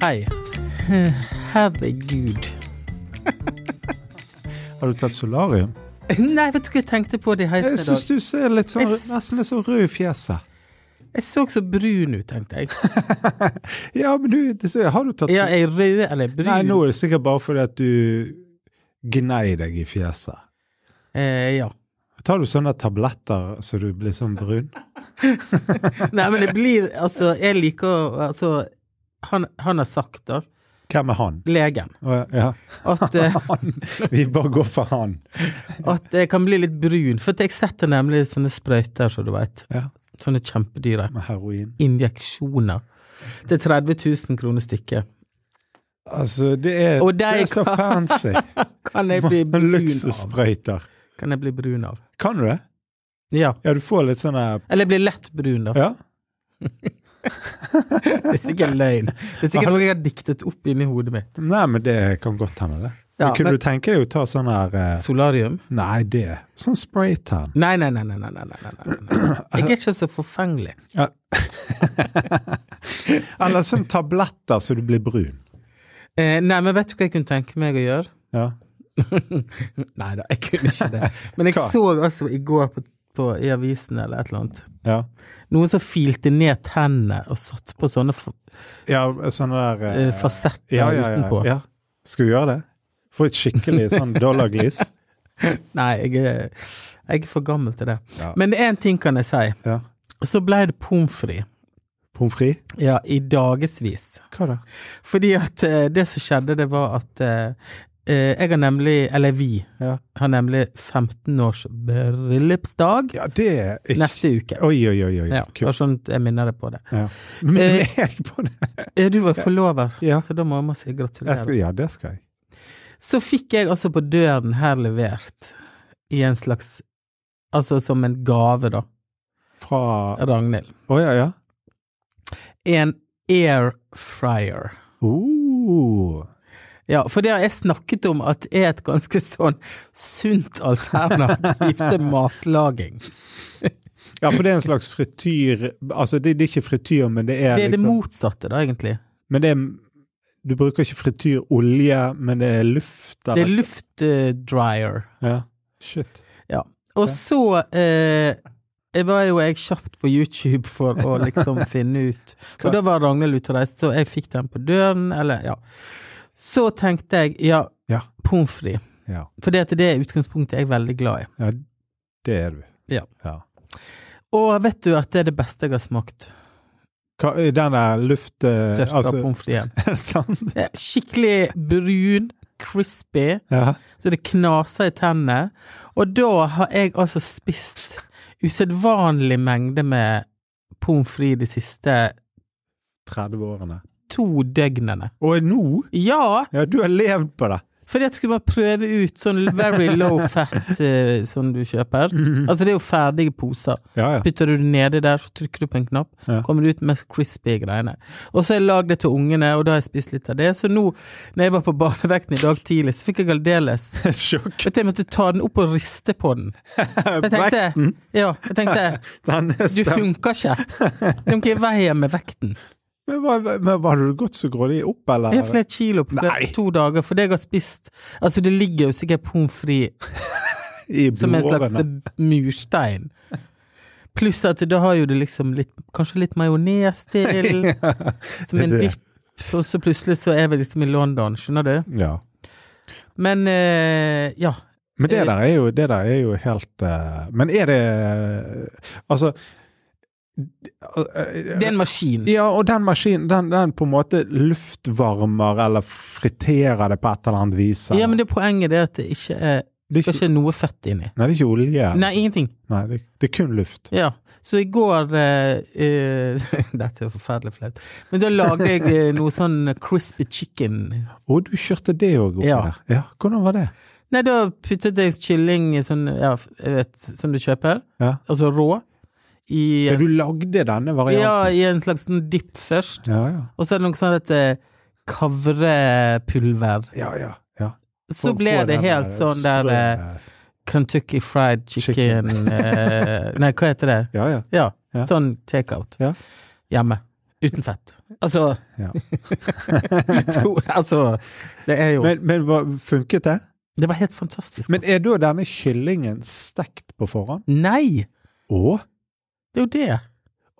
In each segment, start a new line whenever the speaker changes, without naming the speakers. Hei. Herregud.
Har du tatt solarium?
Nei, vet du hva jeg tenkte på det i heisen
Jeg
i
syns
dag?
du ser litt sånn,
Jeg s-
nesten litt sånn rød i fjeset.
Jeg så så brun ut, tenkte jeg.
Ja, men du, det ser, har du tatt
Ja, er jeg rød eller brun?
Nei, nå er det sikkert bare fordi at du gnei deg i fjeset.
Eh, ja.
Tar du sånne tabletter så du blir sånn brun?
Nei, men det blir Altså, jeg liker å- Altså, han, han har sagt, da,
Hvem er han?
legen,
Å, Ja,
at, eh,
han. Vi bare går for han.
at jeg kan bli litt brun. For at jeg setter nemlig sånne sprøyter, så du veit.
Ja,
Sånne kjempedyre.
med heroin.
Injeksjoner. Til 30 000 kroner stykket.
Altså, det er,
Og der
det er så
kan-
fancy.
Kan jeg bli brun av?
Luksussprøyter.
Kan jeg bli brun av?
Kan du det?
Ja.
Ja, du får litt sånne
Eller jeg blir lett brun, da.
Ja?
Det er sikkert løgn. Det er sikkert noe jeg har diktet opp inni hodet mitt.
Nei, men det kan godt hende, det.
Ja,
men kunne
men-
du tenke deg å ta sånn her eh,
Solarium?
Nei, det. Sånn spraytan.
Nei, nei, nei, nei, nei, nei, nei, nei, nei. Jeg er ikke så forfengelig.
Ja. Eller sånn tabletter så du blir brun.
Eh, nei, men vet du hva jeg kunne tenke meg å gjøre?
Ja.
Nei da, jeg kunne ikke det. Men jeg
Hva?
så altså i går på, på, i avisen eller et eller annet,
Ja,
noen som filte ned tennene og satte på sånne fa-
ja sånne der eh,
eh, fasetter
ja, ja, ja,
utenpå.
Ja. Skal vi gjøre det? Få et skikkelig sånn dollarglis.
Nei, jeg er, jeg er for gammel til det.
Ja.
Men én ting kan jeg si.
Ja.
Så ble det pommes frites.
Pommes frites?
Ja, i dagevis.
Hva da?
Fordi at eh, det som skjedde, det var at eh, eh, jeg har nemlig, eller vi,
Ja.
har nemlig 15 års bryllupsdag
Ja, det er ikke
neste uke.
Oi, oi, oi. oi.
Ja,
Kult.
bare sånn at jeg minner deg på det.
Ja. Men
Eh,
jeg på det?
Eh, Du var forlover,
Ja.
så da må man si
Jeg skal,
gratulerer.
ja, det skal jeg.
Så fikk jeg altså på døren her levert i en slags Altså som en gave, da.
Fra Å
Ragnhild.
ja, ja.
En air fryer.
Oh.
Ja, for det har jeg snakket om at er et ganske sånn sunt alternativ til matlaging.
Ja, for det er en slags frityr Altså, det, det er ikke frityr, men det er
Det er det
liksom
motsatte, da, egentlig.
Men det er Du bruker ikke frityrolje, men det er luft
Det
eller
er luftdryer.
Ja. Shit.
Ja. Og så eh, jeg var jo jeg kjapt på YouTube for å liksom finne ut For da var Ragnhild ute og reiste, så jeg fikk den på døren, eller ja. Så tenkte jeg, ja,
Ja.
pommes frites.
Ja.
For det, at det er utgangspunktet jeg er veldig glad i.
ja det er du.
Ja.
ja.
Og vet du at det er det beste jeg har smakt?
Hva, den der luft... eh,
Tørka
Altså,
pommes fritesen.
er sånn. det sant?
Eh, Skikkelig brun, crispy.
Ja.
så det knaser i tennene. Og da har jeg altså spist usedvanlig mengde med pommes frites de siste
30-årene.
to døgnene.
Og nå?
Ja,
Ja, du har levd på det.
fordi at skulle man prøve ut sånn very low fat eh, som du kjøper. Altså det er jo ferdige poser.
Ja, ja.
Putter du det nedi der, så trykker du på en knapp,
Ja.
kommer du ut med crispy greiene. Og så har jeg lagd det til ungene, og da har jeg spist litt av det. Så nå, når jeg var på barnevekten i dag tidlig, så fikk jeg aldeles
Sjokk.
Vet du, jeg måtte ta den opp og riste på den. Jeg
Mm.
tenkte, ja, jeg tenkte
Den er
du
stemt.
funker ikke. Du må ikke i veien med vekten.
Men, var, men var du gått så grådig opp, eller?
Jeg har flere kilo på flere,
Nei.
to dager, for det jeg har spist Altså, det ligger jo sikkert pommes frites
I
som en slags
blodårene.
murstein. Pluss at da har jo du liksom litt, kanskje litt majones til, som en
det er det.
dipp, og så plutselig så er vi liksom i London, skjønner du?
Ja.
Men eh, ja.
Men det der er jo, det der er jo helt eh, Men er det Altså eh,
Det er en maskin.
Ja, og den maskinen, den, den på en måte luftvarmer eller friterer det på et eller annet vis? eller?
Ja, men det poenget er at det ikke er
det
skal
er ikke,
ikke noe fett inni.
nei, det er ikke olje.
Nei, ingenting.
Nei, det, det er kun luft.
Ja. Så i går eh, eh, Dette er forferdelig flaut. Men da lagde jeg eh, noe sånn crispy chicken.
Å, du kjørte det òg oppi
Ja.
der. Ja, hvordan var det?
Nei, da puttet jeg kylling i sånn, ja, jeg vet, som du kjøper,
Ja.
altså rå, i,
Ja, du lagde denne
ja,
varianten?
i en slags sånn dipp først.
Ja, ja.
Og så er det noe sånn dette kavrepulver.
ja, ja, ja.
Så
Få-
ble
få
det
den
helt sånn der
sprø-
eh, Kentucky fried chicken, eh, Nei, hva heter det?
Ja, ja.
Ja,
Ja.
sånn takeout.
Ja.
Hjemme. Uten fett. Altså,
Ja.
to, altså Det er jo
Men, men hva- funket det?
Det var helt fantastisk.
Men er da denne kyllingen stekt på forhånd?
Nei!
Å?
Det er jo det.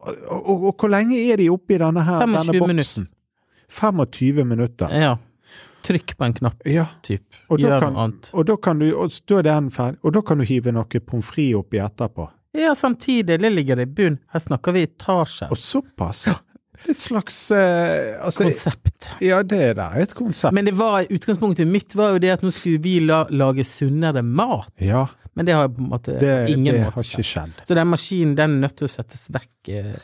Og, og, og hvor lenge er de oppi denne her, denne
25
boksen? 25 minutter.
Ja. Trykk på en knapp,
Ja,
typ.
og da
Gjør
kan,
noe annet.
og da kan du, og da er den ferdig, og da kan du hive noe pommes frites oppi etterpå.
Ja, samtidig. Det ligger det i bunn. Her snakker vi etasjer.
Og såpass! Et slags eh, altså,
Konsept.
Ja, det er der et konsept.
Men det var, utgangspunktet mitt var jo det at nå skulle vi la, lage sunnere mat.
ja,
Men det har jeg på en måte
det,
ingen
det
måte
har ikke skjedd.
Så den maskinen den er nødt til å settes vekk eh,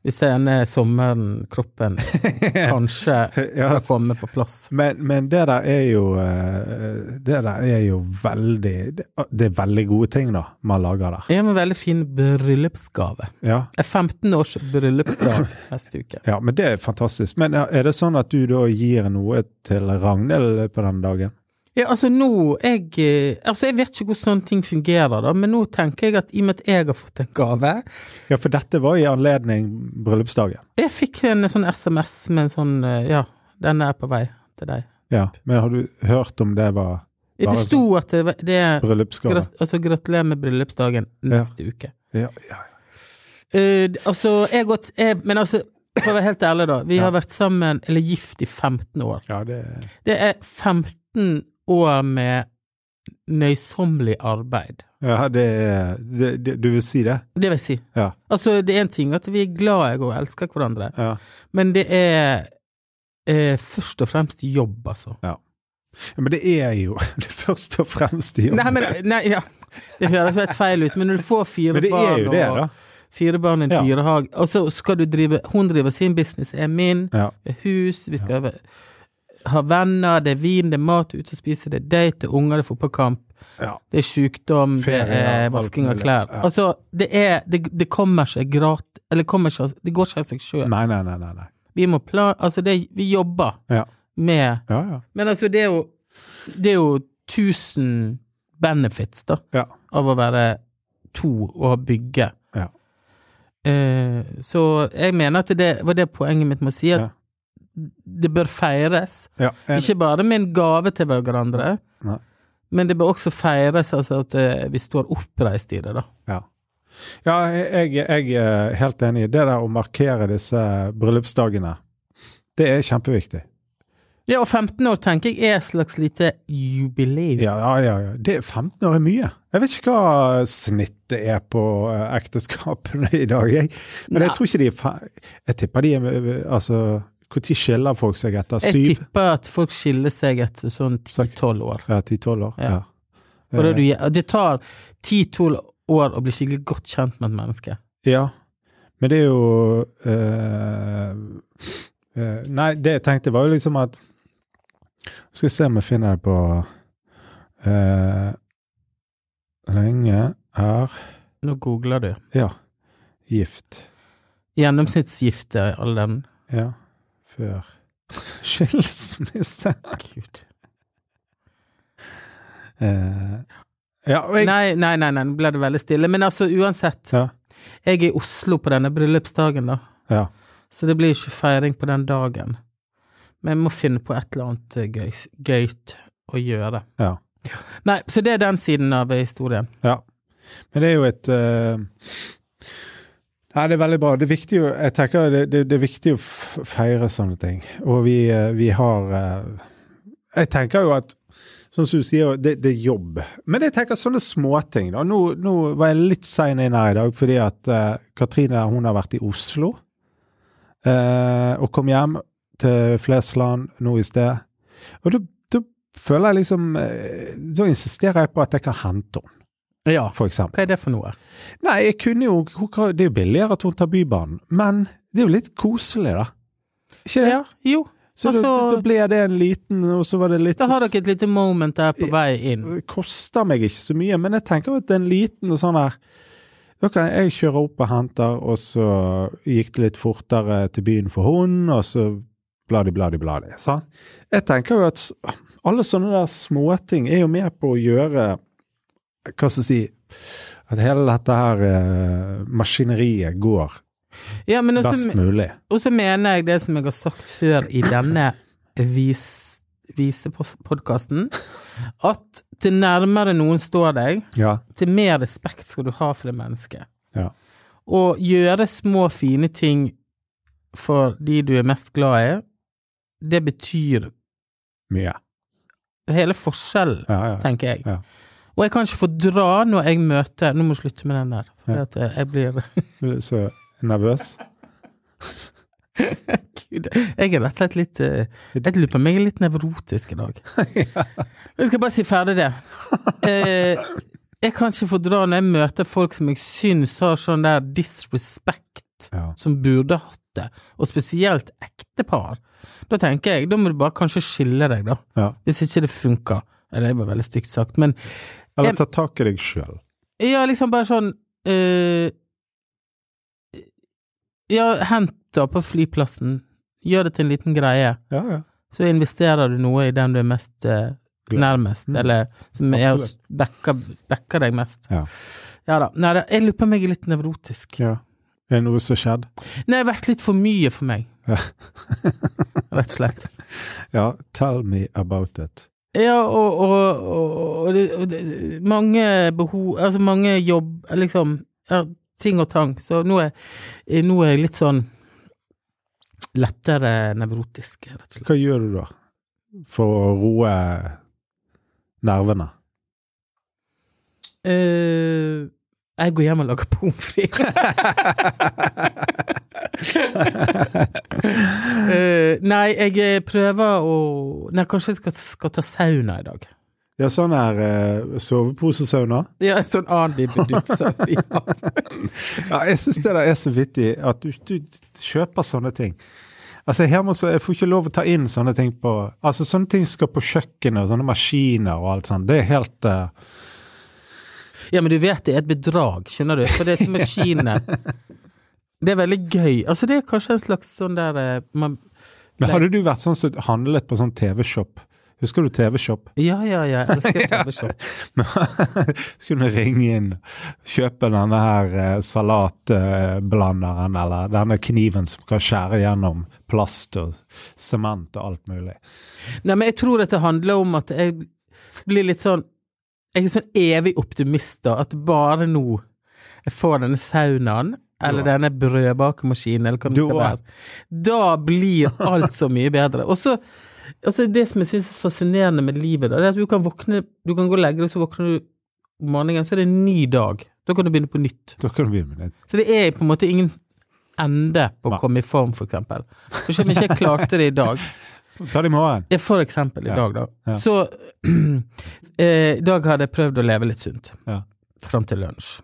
hvis denne sommeren, kroppen, kanskje
Ja,
skal komme på plass.
Men, men det der er jo eh, Det der er jo veldig Det ah, det er veldig gode ting, da, man lager der.
Jeg har en veldig fin bryllupsgave.
Ja.
Eh, 15 års bryllupsdag neste uke.
Ja, men det er fantastisk. Men ja, er det sånn at du da gir noe til Ragnhild på den dagen?
Ja, altså nå jeg, eh, altså jeg vet ikke hvordan sånne ting fungerer, da, men nå tenker jeg at i og med at jeg har fått en gave
Ja, for dette var i anledning bryllupsdagen.
Jeg fikk en sånn SMS med en sånn eh, Ja, denne er på vei til deg.
Ja, men har du hørt om det var
Det
Bare sånn
sto at det, var- det er
bryllupsgave?
grat, altså, Gratulerer med bryllupsdagen neste uke.
Ja, ja.
Eh, d- altså, jeg har gått jeg, Men altså, for å være helt ærlig, da. Vi har vært sammen, eller gift, i 15 år.
ja, det
Det er 15 år med nøysommelig arbeid.
ja, det, er- det, det Du vil si det?
Det vil jeg si.
Ja.
Altså, det er en ting at vi er glad i og elsker hverandre,
ja.
men det er eh, først og fremst jobb, altså.
Ja, Men det er jo det er først og fremst i
Nei, men nei, ja. Det høres jo helt feil ut, men når du får fire
Men det
barn
er jo det,
og
da.
fire barn i en
Ja.
dyrehage, og så skal du drive Hun driver sin business, jeg er min.
Ja.
Det er hus, vi skal ha- ha venner, det er vin, det er mat ute å spise, det er date, det er unger, det er fotballkamp,
ja.
det er sykdom,
Ferie,
det
ja,
er vasking
alt
av
mulig.
klær.
Ja.
Altså, det er Det, det kommer ikke gratis Eller kommer ikke, det går ikke av seg sjøl.
Nei, nei, nei. nei, nei.
Vi må plan... Altså, det, vi jobber
Ja.
med
Ja, ja.
Men altså, det er jo Det er jo 1000 benefits, da,
ja.
av å være to og bygge.
Ja.
Eh, så jeg mener at det var det poenget mitt med å si, at
Ja.
det bør feires.
ja. enig.
Ikke bare med en gave til hverandre,
Nei.
men det bør også feires altså, at eh, vi står oppreist i det. da.
Ja. Ja, jeg, jeg er helt enig. Det der å markere disse bryllupsdagene, det er kjempeviktig.
Ja, og 15 år tenker jeg er et slags lite jubileum.
Ja, ja, ja. ja. Det 15 år er mye. Jeg vet ikke hva snittet er på eh, ekteskapene i dag, jeg. Men
Nei.
jeg tror ikke de er fe- Jeg tipper de er Altså, når skiller folk seg etter?
Jeg
Syv?
tipper at folk skiller seg etter sånn
Sak-
10-12 år.
Ja, ti-tolv år?
Ja.
Ja. Eh,
Og da du, det tar 10-12 år å bli skikkelig godt kjent med et menneske.
Ja, men det er jo eh, eh, Nei, det jeg tenkte var jo liksom at Skal jeg se om jeg finner det på eh, Lenge er
Nå googler du.
Ja, gift.
Gjennomsnittsgiftealderen.
Ja, før skilsmisse.
Gud.
Eh, ja, og jeg
Nei, nei, nei, nei, nå ble det veldig stille. Men altså, uansett.
Ja,
Jeg er i Oslo på denne bryllupsdagen, da.
ja.
Så det blir ikke feiring på den dagen. Men jeg må finne på et eller annet eh, gøy, gøyt å gjøre.
ja.
Nei, så det er den siden av historien.
Ja. Men det er jo et eh, Nei, det er veldig bra. Det er viktig, å- jeg tenker, det, det, det er viktig å f- feire sånne ting. Og vi, eh, vi har eh, Jeg tenker jo at Sånn som du sier, det, det er jobb. Men jeg tenker sånne småting. da. Nå, nå var jeg litt sein inn her i dag fordi at eh, Katrine hun har vært i Oslo. eh, og kom hjem til Flesland nå i sted. Og da, da føler jeg liksom eh, Da insisterer jeg på at jeg kan hente henne
Ja.
for eksempel.
Hva er det for noe?
Nei, jeg kunne jo hun kan- Det er jo billigere at hun tar Bybanen, men det er jo litt koselig, da. Ikke det?
Ja, jo.
så da,
altså-
da ble det en liten, og så var det litt
Da har dere et lite moment der på vei inn.
Det koster meg ikke så mye, men jeg tenker jo at en liten sånn her Da kan jeg kjøre opp og hente, og så gikk det litt fortere til byen for hun, og så bladi, bladi, bladi. Sant? Jeg tenker jo at s- alle sånne der småting er jo med på å gjøre Hva skal jeg si At hele dette her eh, maskineriet går
Ja, men altså,
best
også,
mulig.
og så mener jeg det som jeg har sagt før i denne vis, visepodkasten, at til nærmere noen står deg,
Ja.
til mer respekt skal du ha for det mennesket.
Ja.
Og gjøre små, fine ting for de du er mest glad i, det betyr
Mye.
hele forskjellen,
Ja, ja.
tenker jeg.
Ja.
Og jeg kan ikke fordra når jeg møter Nå må jeg slutte med den der, for
Ja.
at jeg blir
Så nervøs.
Gud, jeg er rett og slett litt eh, Jeg lurer på om jeg er litt nevrotisk i dag. Jeg skal bare si ferdig det. Eh, jeg kan ikke fordra når jeg møter folk som jeg syns har sånn der disrespect,
Ja.
som burde hatt det, og spesielt ektepar. Da tenker jeg, da må du bare kanskje skille deg, da.
Ja.
Hvis ikke det funker. Eller det var veldig stygt sagt, men
Eller ta tak i deg sjøl.
ja, liksom bare sånn eh, Ja, hent da på flyplassen. Gjør det til en liten greie.
Ja, ja.
Så investerer du noe i den du er mest eh,
Glad.
nærmest,
Mm.
eller som er
Absolutt.
backer, backer deg mest.
Ja.
Ja da. Nei, da, jeg lurer på om jeg er litt nevrotisk.
ja. Er det noe som har skjedd?
Nei, det har vært litt for mye for meg.
Ja.
Rett og slett.
Ja, tell me about it.
Ja, og, og, og, og, det, og det, mange behov Altså mange jobb, liksom ja, Ting og tang. Så nå er, eh, nå er jeg litt sånn lettere nevrotisk, rett og slett.
Hva gjør du da for å roe nervene?
Eh, jeg går hjem og lager pommes frites. Eh, nei, jeg eh, prøver å Nei, kanskje jeg skal, skal ta sauna i dag.
Ja, sånn her eh, soveposesauna.
Ja, en sånn annen dibbedutt som vi har.
Ja, jeg syns det der er så vittig at du, du kjøper sånne ting. Altså, Herman, så jeg får ikke lov å ta inn sånne ting på Altså, sånne ting skal på kjøkkenet, og sånne maskiner og alt sånt. Det er helt eh,
Ja, men du vet det er et bedrag, skjønner du, for det er som maskiner. Det er veldig gøy. Altså, det er kanskje en slags sånn der eh, man,
Men hadde du vært sånn som handlet på sånn TV-shop? Husker du TV-shop?
Ja, ja, ja, jeg elsker TV-shop.
Skulle du ringe inn, kjøpe denne her eh, salatblanderen, eller denne kniven som kan skjære gjennom plast og sement og alt mulig.
Nei, men jeg tror at det handler om at jeg blir litt sånn Jeg er sånn evig optimist, da, at bare nå jeg får denne saunaen, eller
Ja.
denne brødbakemaskinen, eller hva det
Du
skal
også.
være, da blir alt så mye bedre. Og så og så det som jeg syns er fascinerende med livet, da, det er at du kan våkne Du kan gå og legge deg, så våkner du om morgenen, så er det en ny dag. Da kan du begynne på nytt.
Da kan du begynne med det.
Så det er på en måte ingen ende på å
Nei.
komme i form, for eksempel. For selv om jeg ikke klarte det i dag,
Ta det i morgen.
ja, for eksempel i
Ja.
dag, da,
Ja.
så eh, I dag hadde jeg prøvd å leve litt sunt.
Ja.
Fram til lunsj.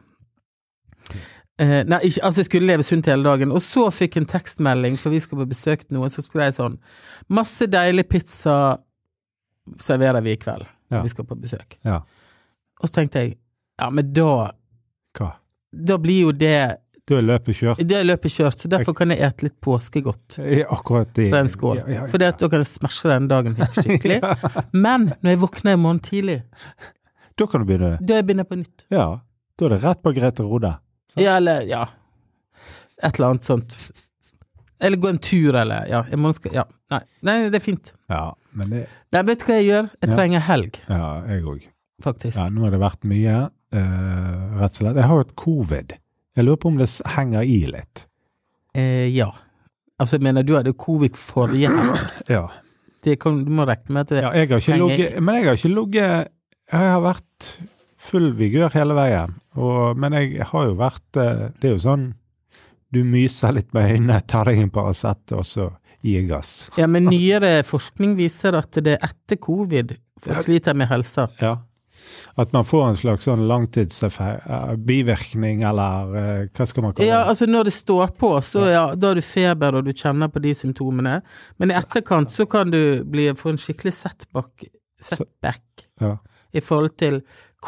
Eh, nei, ikke, altså jeg skulle leve sunt hele dagen, og så fikk jeg en tekstmelding, for vi skal på besøk til noen, så skulle jeg sånn Masse deilig pizza serverer vi i kveld.
Ja.
Vi skal på besøk.
Ja.
Og så tenkte jeg, ja, men da
Hva?
Da blir jo det
Da er løpet kjørt.
det er løpet kjørt, så derfor kan jeg ete litt påskegodt
I akkurat i
fra en skål.
Ja, ja, ja.
For da kan jeg smashe den dagen helt skikkelig. Men når jeg våkner i morgen tidlig,
Da kan du begynne.
da jeg begynner jeg på nytt.
Ja. Da er det rett på Grete Rode. Sant.
Ja, eller ja. Et eller annet sånt. Eller gå en tur, eller ja. I morgen skal Ja. Nei, nei det er fint.
Ja, men det
Nei, vet du hva jeg gjør? Jeg
Ja.
trenger helg,
Ja, jeg òg.
faktisk.
Ja, nå har det vært mye, eh, rett og slett. Jeg har hatt covid. Jeg lurer på om det s- henger i litt.
Eh, ja. Altså, jeg mener, du hadde covid forrige helg.
Ja.
Det kan- Du må regne med at det
Ja, jeg har ikke
Henger
ligget Men jeg har ikke ligget Jeg har vært full vigør hele veien. Og, men jeg har jo vært eh, Det er jo sånn du myser litt med øynene, tar deg en Paracet, og så gir gass.
Ja, men nyere forskning viser at det er etter covid folk sliter med helsa.
Ja. At man får en slags sånn langtidseffekt, eh, bivirkning eller eh, hva skal man kalle
Ja,
det?
altså når det står på, så ja, da har du feber og du kjenner på de symptomene. Men i etterkant så kan du bli, få en skikkelig setback, setback
Ja,
i forhold til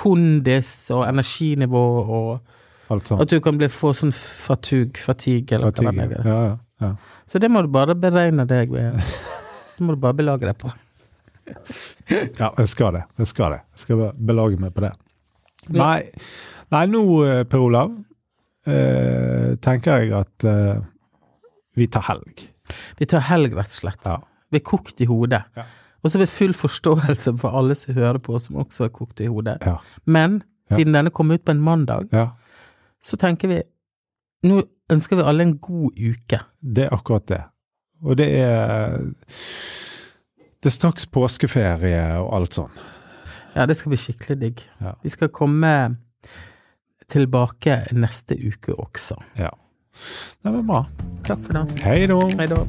kondis og energinivå og
alt sånt.
At du kan bli, få sånn fatigue, fatigue eller hva det er.
Ja, ja, ja.
Så det må du bare beregne deg ved. Det må du bare belage deg på.
Ja, jeg skal det. Jeg skal det. Jeg skal belage meg på det. Nei, Nei nå, eh, Per Olav, eh, eh, tenker jeg at eh, vi tar helg.
Vi tar helg, rett og slett.
Ja.
Vi er kokt i hodet.
Ja.
Og så ved full forståelse for alle som hører på, som også er kokt i hodet.
Ja.
Men
Ja.
siden denne kom ut på en mandag,
ja.
så tenker vi Nå ønsker vi alle en god uke.
Det er akkurat det. Og det er Det er straks påskeferie og alt sånn.
Ja, det skal bli skikkelig digg.
Ja.
Vi skal komme tilbake neste uke også.
Ja. Det var bra.
Takk for dansen.
Hei da.
Hei da.